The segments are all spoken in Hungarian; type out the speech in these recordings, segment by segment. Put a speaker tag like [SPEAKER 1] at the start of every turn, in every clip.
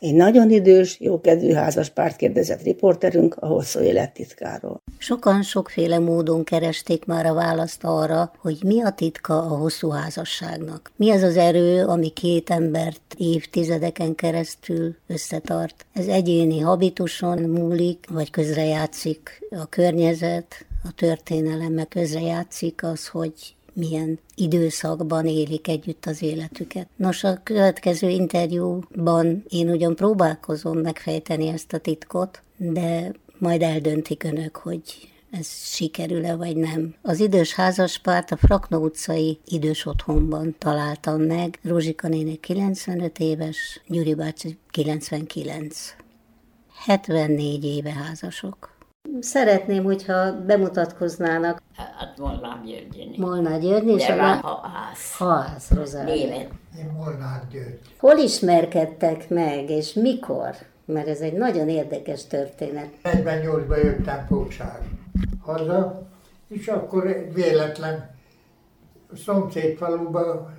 [SPEAKER 1] Egy nagyon idős, jókedvű házaspárt kérdezett riporterünk a hosszú élet titkáról.
[SPEAKER 2] Sokan sokféle módon keresték már a választ arra, hogy mi a titka a hosszú házasságnak. Mi az az erő, ami két embert évtizedeken keresztül összetart. Ez egyéni habituson múlik, vagy közrejátszik a környezet, a történelem, meg közrejátszik az, hogy milyen időszakban élik együtt az életüket. Nos, a következő interjúban én ugyan próbálkozom megfejteni ezt a titkot, de majd eldöntik önök, hogy ez sikerül-e vagy nem. Az idős házaspárt a Frakna utcai idős otthonban találtam meg. Rózsika néni 95 éves, Gyuri bácsi 99. 74 éve házasok. Szeretném, hogyha bemutatkoznának
[SPEAKER 3] Hát Molnár Györgyének.
[SPEAKER 2] Molnár György és
[SPEAKER 3] De van
[SPEAKER 2] a
[SPEAKER 3] a ház.
[SPEAKER 2] Halász Rozália.
[SPEAKER 3] Német.
[SPEAKER 4] Én Molnár György.
[SPEAKER 2] Hol ismerkedtek meg, és mikor? Mert ez egy nagyon érdekes történet.
[SPEAKER 4] 48-ban jöttem fogság haza, és akkor egy véletlen a szomszéd faluba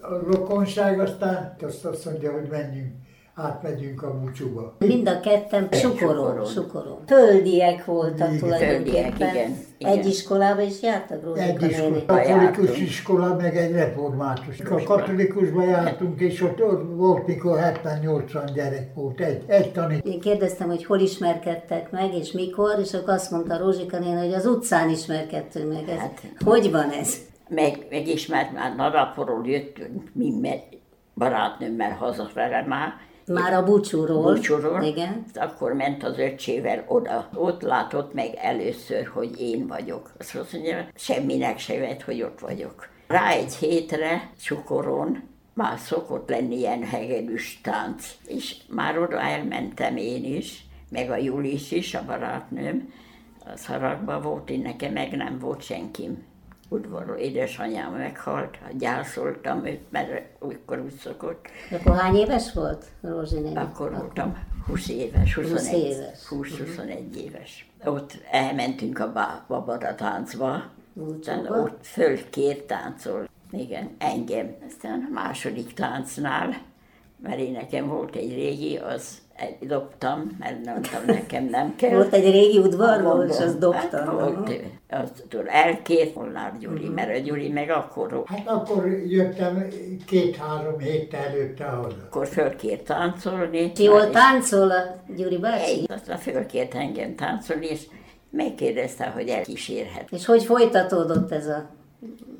[SPEAKER 4] a rokonság, aztán azt, azt mondja, hogy menjünk, átmegyünk a búcsúba.
[SPEAKER 2] Mind a ketten sukoró,
[SPEAKER 3] Sukoron.
[SPEAKER 2] sukoró. Földiek voltak
[SPEAKER 4] Igen.
[SPEAKER 2] tulajdonképpen.
[SPEAKER 3] Földiek, igen, igen.
[SPEAKER 2] Egy iskolába is jártak
[SPEAKER 4] Egy
[SPEAKER 2] Rózsika
[SPEAKER 4] iskola,
[SPEAKER 2] néni.
[SPEAKER 4] katolikus
[SPEAKER 3] jártunk.
[SPEAKER 4] iskola, meg egy református. A katolikusba jártunk, és ott, ott volt, mikor 70-80 gyerek volt, egy, egy tanít.
[SPEAKER 2] Én kérdeztem, hogy hol ismerkedtek meg, és mikor, és akkor azt mondta Rózsika néni, hogy az utcán ismerkedtünk meg. Ez.
[SPEAKER 3] Hát.
[SPEAKER 2] Hogy van ez?
[SPEAKER 3] Meg, megismert már Naraporról jöttünk, mi me- barátnőmmel hazafele már.
[SPEAKER 2] Már a búcsúról.
[SPEAKER 3] Búcsoron.
[SPEAKER 2] Igen.
[SPEAKER 3] Akkor ment az öccsével oda. Ott látott meg először, hogy én vagyok. Azt mondja, semminek se vett, hogy ott vagyok. Rá egy hétre csukoron már szokott lenni ilyen hegedűs tánc, és már oda elmentem én is, meg a Julis is, a barátnőm. A szarakba volt, én nekem meg nem volt senkim. Udvarról édesanyám meghalt, gyászoltam őt, mert akkor úgy szokott.
[SPEAKER 2] Akkor hány éves volt Rózsi néni?
[SPEAKER 3] Akkor voltam 20 éves, 21,
[SPEAKER 2] 20 éves. Mhm.
[SPEAKER 3] 20-21 éves. Ott elmentünk a bá- babada táncba, utána
[SPEAKER 2] Búcsúba?
[SPEAKER 3] ott fölkér táncol, igen, engem. Aztán a második táncnál, mert én nekem volt egy régi, az egy- dobtam, mert nem mondtam, nekem nem kell.
[SPEAKER 2] Volt egy régi udvarból, és
[SPEAKER 3] Mondom,
[SPEAKER 2] azt dobtam. Mhm.
[SPEAKER 3] Hát, volt, aztól elkért Molnár Gyuri, mert a Gyuri meg akkor,
[SPEAKER 4] Hát akkor jöttem két-három héttel előtte haza.
[SPEAKER 3] akkor fölkér táncolni.
[SPEAKER 2] Ti jól
[SPEAKER 3] És-
[SPEAKER 2] táncol a Gyuri bácsi?
[SPEAKER 3] Egy, aztán fölkért engem táncolni, és megkérdezte, hogy elkísérhet.
[SPEAKER 2] És hogy folytatódott ez a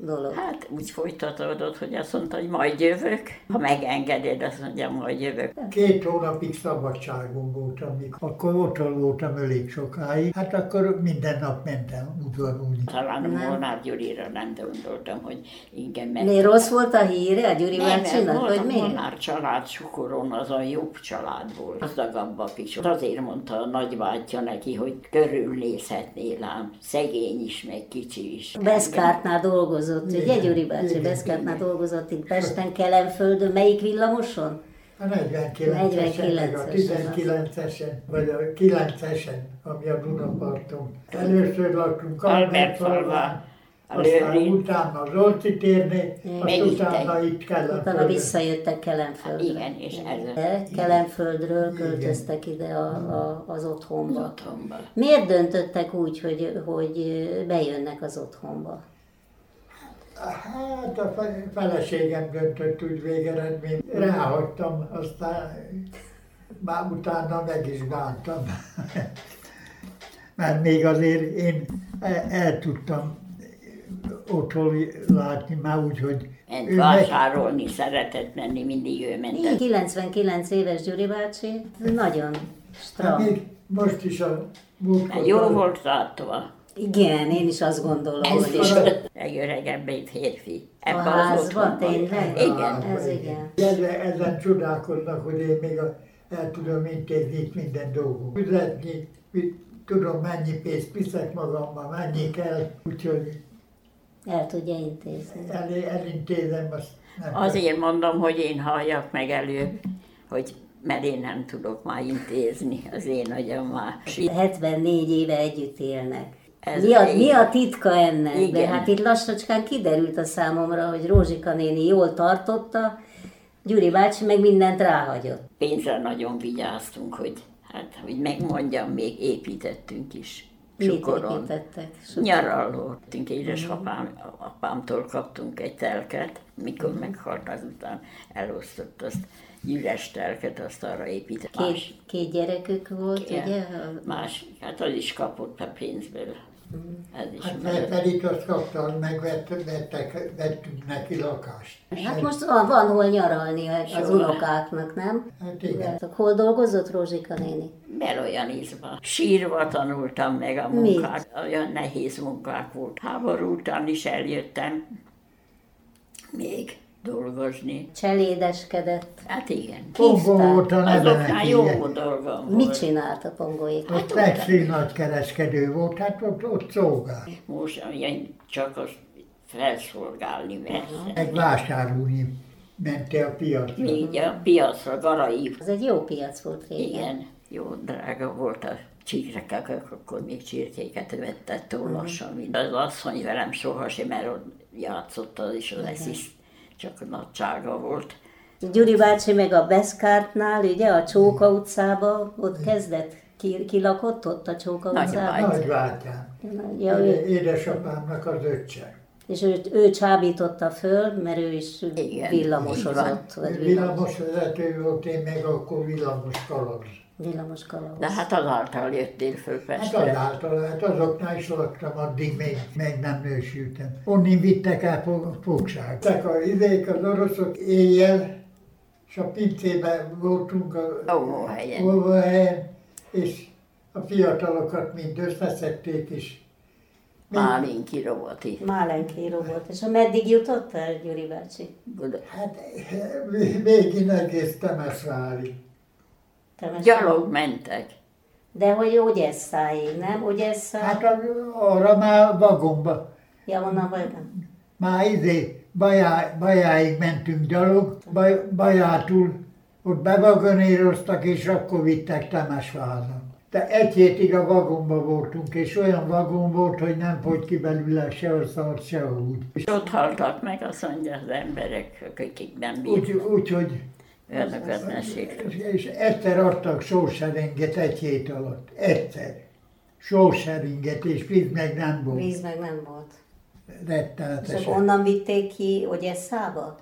[SPEAKER 2] dolog?
[SPEAKER 3] Hát úgy folytatódott, hogy azt mondta, hogy majd jövök. Ha megengeded, azt mondja, majd jövök.
[SPEAKER 4] Két hónapig szabadságon voltam, mikor- akkor otthon voltam elég sokáig, hát akkor minden nap mentem udvarulni.
[SPEAKER 3] Talán a Molnár Gyurira nem gondoltam, hogy ingyen meg.
[SPEAKER 2] Miért rossz volt a híre a Gyuri
[SPEAKER 3] Hát, Nem, mert
[SPEAKER 2] bácsinak,
[SPEAKER 3] volt a
[SPEAKER 2] hogy miért?
[SPEAKER 3] Molnár család Sukoron, az a jobb család volt, gazdagabb a picsot. Azért mondta a nagybátyja neki, hogy körülnézhetnél ám, szegény is, meg kicsi is.
[SPEAKER 2] Beszkártnál dolgozott, ugye Gyuri bácsi? Beszkártnál dolgozott itt Pesten, Kelenföldön, melyik villamoson?
[SPEAKER 4] A 49-esen, meg a 19-esen, vagy a 9-esen, ami a Dunaparton. Először laktunk
[SPEAKER 3] Albert
[SPEAKER 4] Albert-falván,
[SPEAKER 3] falván, a
[SPEAKER 4] aztán
[SPEAKER 3] Lőrinc.
[SPEAKER 4] utána Zolci térnél,
[SPEAKER 3] Meg
[SPEAKER 4] azt
[SPEAKER 3] itt
[SPEAKER 4] utána itt kellett.
[SPEAKER 2] Utána visszajöttek Kelenföldre.
[SPEAKER 3] Igen, és ez
[SPEAKER 2] De Kelenföldről költöztek ide a, a, az otthonba.
[SPEAKER 3] otthonban.
[SPEAKER 2] Miért döntöttek úgy, hogy, hogy bejönnek az otthonba?
[SPEAKER 4] Hát a fe- feleségem döntött úgy végeredmény. Ráhagytam, aztán már utána meg is bántam. Mert még azért én el, el tudtam otthon látni, már úgy, hogy
[SPEAKER 3] Ment
[SPEAKER 4] ő meg-
[SPEAKER 3] vásárolni, szeretett menni, mindig ő ment.
[SPEAKER 2] Így, 99 éves Gyuri bácsi, nagyon
[SPEAKER 4] hát
[SPEAKER 2] strand.
[SPEAKER 4] még most is a múltkor.
[SPEAKER 3] Hát Jó volt tartva.
[SPEAKER 2] Igen, én is azt gondolom,
[SPEAKER 3] Ez
[SPEAKER 2] hogy
[SPEAKER 3] is
[SPEAKER 2] is.
[SPEAKER 3] legöregebb egy férfi.
[SPEAKER 2] A
[SPEAKER 3] Ebben az
[SPEAKER 2] házban
[SPEAKER 3] otthonban.
[SPEAKER 2] tényleg?
[SPEAKER 3] Igen.
[SPEAKER 2] Ez igen.
[SPEAKER 4] Ezzel, ezen csodálkoznak, hogy én még a, el tudom intézni itt minden dolgot. Fizetni, mit tudom mennyi pénzt viszek magammal, mennyi kell, úgyhogy
[SPEAKER 2] El tudja intézni.
[SPEAKER 4] el, elintézem, azt nem
[SPEAKER 3] Azért mondom, hogy én halljak meg előbb, hogy mert én nem tudok már intézni, az én agyam már.
[SPEAKER 2] 74 éve együtt élnek.
[SPEAKER 3] Ez
[SPEAKER 2] Mi a,
[SPEAKER 3] így.
[SPEAKER 2] mi a titka ennek? De
[SPEAKER 3] Igen.
[SPEAKER 2] hát itt lassacskán kiderült a számomra, hogy Rózsika néni jól tartotta, Gyuri bácsi meg mindent ráhagyott.
[SPEAKER 3] Pénzre nagyon vigyáztunk, hogy hát, hogy megmondjam, még építettünk is.
[SPEAKER 2] Mit
[SPEAKER 3] Sukoron.
[SPEAKER 2] építettek? Sok-
[SPEAKER 3] Nyaralótunk,
[SPEAKER 4] Mhm.
[SPEAKER 3] édesapám, apámtól kaptunk egy telket,
[SPEAKER 4] Mhm.
[SPEAKER 3] mikor meghalt azután, elosztott azt, üres telket, azt arra épített. Más,
[SPEAKER 2] Két, két gyerekük volt,
[SPEAKER 3] Igen.
[SPEAKER 2] ugye?
[SPEAKER 3] más, hát az is kapott a pénzből. Ez is
[SPEAKER 4] Hát mert
[SPEAKER 3] mellett.
[SPEAKER 4] pedig azt kaptam, meg vett, vettek, vettünk neki lakást.
[SPEAKER 2] Hát most van, van hol nyaralni az
[SPEAKER 3] Soha.
[SPEAKER 2] unokáknak, nem?
[SPEAKER 4] Hát igen.
[SPEAKER 2] Hol dolgozott Rózsika néni?
[SPEAKER 3] Mert olyan izba. Sírva tanultam meg a
[SPEAKER 2] Mit?
[SPEAKER 3] munkát. Olyan nehéz munkák volt. Háború után is eljöttem még dolgozni.
[SPEAKER 2] Cselédeskedett.
[SPEAKER 3] Hát igen.
[SPEAKER 4] Pongó
[SPEAKER 2] Tisztán.
[SPEAKER 4] volt a nevenek
[SPEAKER 3] Azoknál jó
[SPEAKER 4] ilyen.
[SPEAKER 3] dolgom
[SPEAKER 2] Mit
[SPEAKER 3] volt.
[SPEAKER 2] csinált a pongóik?
[SPEAKER 4] Ott textil nagykereskedő volt, hát ott, ott szolgált.
[SPEAKER 3] Most ilyen csak az felszolgálni persze.
[SPEAKER 4] Meg vásárolni mentél a piacra.
[SPEAKER 3] Még a piacra garaib.
[SPEAKER 2] Ez egy jó piac volt régen.
[SPEAKER 3] Igen, jó drága volt a csirkek, akkor még csirkéket vettek túl lassan. mint Az asszony velem sohasem, mert ott játszott az is az eszis, csak nagysága volt.
[SPEAKER 2] Gyuri bácsi meg a Beszkártnál, ugye, a Csóka utcába, ott kezdett. Ki, ki lakott ott a Csóka
[SPEAKER 3] Nagy
[SPEAKER 2] utcában?
[SPEAKER 3] baj.
[SPEAKER 4] Nagyvátyám.
[SPEAKER 2] Ja, ő,
[SPEAKER 4] Édesapámnak az öccse.
[SPEAKER 2] és ő, ő csábította föl, mert ő is
[SPEAKER 3] Igen,
[SPEAKER 2] villamosozott. Vagy villamos,
[SPEAKER 4] Villamos vezető volt, én meg akkor villamos kalauz.
[SPEAKER 2] villamos kalauz.
[SPEAKER 3] De hát azáltal jöttél föl
[SPEAKER 4] Hát
[SPEAKER 3] Pestre.
[SPEAKER 4] azáltal, hát azoknál is laktam, addig még, még nem nősültem. Onnin vittek el fo- fogság. Tek a idék, az oroszok éjjel, és a pincében voltunk a
[SPEAKER 3] Óvóhelyen.
[SPEAKER 4] olvahelyen, és a fiatalokat mind összeszedték, és
[SPEAKER 3] Málinki Roboti.
[SPEAKER 2] Málenkíró volt. És a meddig jutott el Gyuri bácsi?
[SPEAKER 3] Buda-
[SPEAKER 4] hát végig egész Temesvári.
[SPEAKER 2] Temes-
[SPEAKER 3] Gyalog mentek.
[SPEAKER 2] De hogy Ogyeszáig, nem? Ogyessza?
[SPEAKER 4] Hát a- arra már vagomba
[SPEAKER 2] Ja, onnan vagy nem.
[SPEAKER 4] Már izé, bajá, bajáig mentünk gyalog, baj, bajátul, ott bevagonéroztak, és akkor vittek Temesvázon. De egy hétig a vagonba voltunk, és olyan vagon volt, hogy nem fogy ki belőle se a szar, se a húd.
[SPEAKER 3] És ott haltak meg, azt mondja az emberek, akik nem
[SPEAKER 4] Úgy-
[SPEAKER 3] bírnak.
[SPEAKER 4] Úgyhogy,
[SPEAKER 3] Önöket ne szépen.
[SPEAKER 4] és- és egyszer adtak sóseringet egy hét alatt. Egyszer. Sóseringet, és víz meg nem volt.
[SPEAKER 2] Víz meg nem volt. És akkor
[SPEAKER 4] Rettenetesen.
[SPEAKER 2] onnan vitték ki Ogyesszába?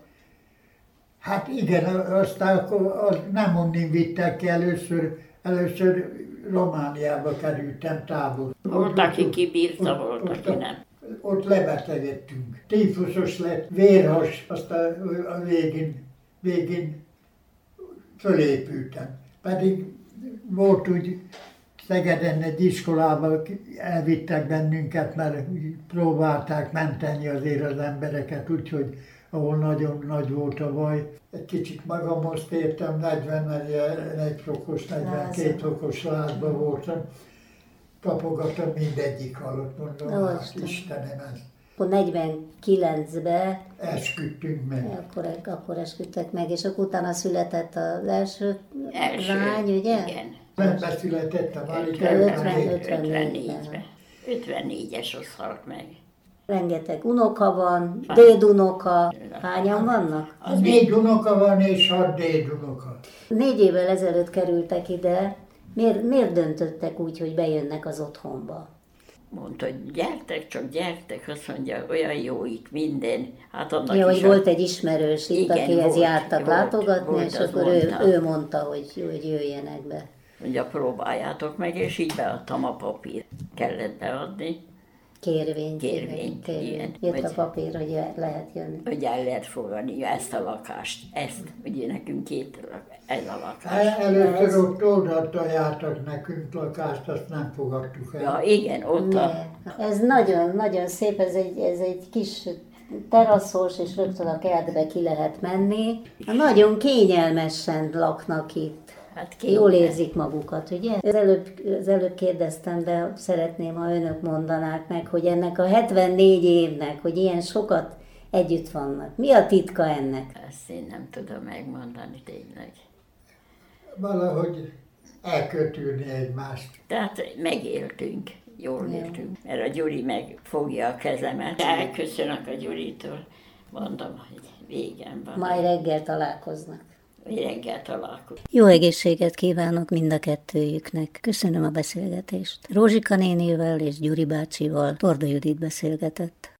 [SPEAKER 4] Hát igen, aztán akkor az nem onnan vittek ki először, először Romániába kerültem tábor.
[SPEAKER 3] Volt, aki kibírta, volt,
[SPEAKER 4] ott-
[SPEAKER 3] aki nem.
[SPEAKER 4] Ott lebetegedtünk. Tífusos lett, vérhas, aztán a végén, végén fölépültem. Pedig volt úgy Szegeden egy iskolába elvittek bennünket, mert úgy próbálták menteni azért az embereket, úgyhogy ahol nagyon nagy volt a baj. Egy kicsit magam most értem, 41 fokos, 42 fokos lázba voltam. Tapogatom mindegyik halott, mondom,
[SPEAKER 2] Ó,
[SPEAKER 4] hát
[SPEAKER 2] Istenem.
[SPEAKER 4] Istenem, ezt
[SPEAKER 2] Akkor 49-be,
[SPEAKER 4] esküdtünk meg.
[SPEAKER 2] akkor, akkor esküdtek meg, és akkor utána született az első,
[SPEAKER 3] Első.
[SPEAKER 2] lány, ugye?
[SPEAKER 3] Igen.
[SPEAKER 4] Benbe született a Marika
[SPEAKER 2] 55.
[SPEAKER 4] 54.
[SPEAKER 3] 54-ben. 54-es az halt meg.
[SPEAKER 2] Rengeteg unoka van, dédunoka, hányan vannak?
[SPEAKER 4] Négy unoka van és hat dédunoka.
[SPEAKER 2] Négy évvel ezelőtt kerültek ide, miért, miért döntöttek úgy, hogy bejönnek az otthonba?
[SPEAKER 3] Mondta, hogy gyertek, csak gyertek, azt mondja, olyan jó itt minden. Hát annak
[SPEAKER 2] Ja,
[SPEAKER 3] is
[SPEAKER 2] hogy
[SPEAKER 3] a-
[SPEAKER 2] volt egy ismerős itt,
[SPEAKER 3] Igen,
[SPEAKER 2] akihez
[SPEAKER 3] volt,
[SPEAKER 2] jártak
[SPEAKER 3] volt,
[SPEAKER 2] látogatni,
[SPEAKER 3] volt,
[SPEAKER 2] és
[SPEAKER 3] az
[SPEAKER 2] akkor ő,
[SPEAKER 3] mondta.
[SPEAKER 2] ő mondta, hogy, hogy jöjjenek be.
[SPEAKER 3] Mondja, próbáljátok meg, és így beadtam a papírt. Kellett beadni,
[SPEAKER 2] Kérvényt.
[SPEAKER 3] Kérvényt, igen.
[SPEAKER 2] Jött a
[SPEAKER 3] Vagy-
[SPEAKER 2] papír, hogy jö- lehet jönni.
[SPEAKER 3] hogy el lehet fogadni ezt a lakást. Ezt, ugye nekünk két lak- ez a
[SPEAKER 4] El,
[SPEAKER 2] Hát-
[SPEAKER 3] lakás.
[SPEAKER 4] először ott oldalt ajánlottak nekünk lakást, azt nem fogadtuk el.
[SPEAKER 3] Ja, igen, ott a...
[SPEAKER 2] Ez nagyon-nagyon szép, ez egy, ez egy kis teraszos, és rögtön a kertbe ki lehet menni. Nagyon kényelmesen laknak itt.
[SPEAKER 3] Hát két,
[SPEAKER 2] Jól érzik magukat, ugye? Az előbb, az előbb kérdeztem, de szeretném, ha önök mondanák meg, hogy ennek a 74 évnek, hogy ilyen sokat együtt vannak. Mi a titka ennek?
[SPEAKER 3] ezt én nem tudom megmondani tényleg.
[SPEAKER 4] Valahogy elkötülni egymást.
[SPEAKER 3] Tehát megéltünk, jól éltünk. Mert a Gyuri meg fogja a kezemet, elköszönök a Gyuritól, mondom, hogy Végem van.
[SPEAKER 2] Majd reggel találkoznak.
[SPEAKER 3] Reggel találkozunk.
[SPEAKER 2] Jó egészséget kívánok mind a kettőjüknek. Köszönöm a beszélgetést. Rózsika nénivel és Gyuri bácsival Torda Judit beszélgetett.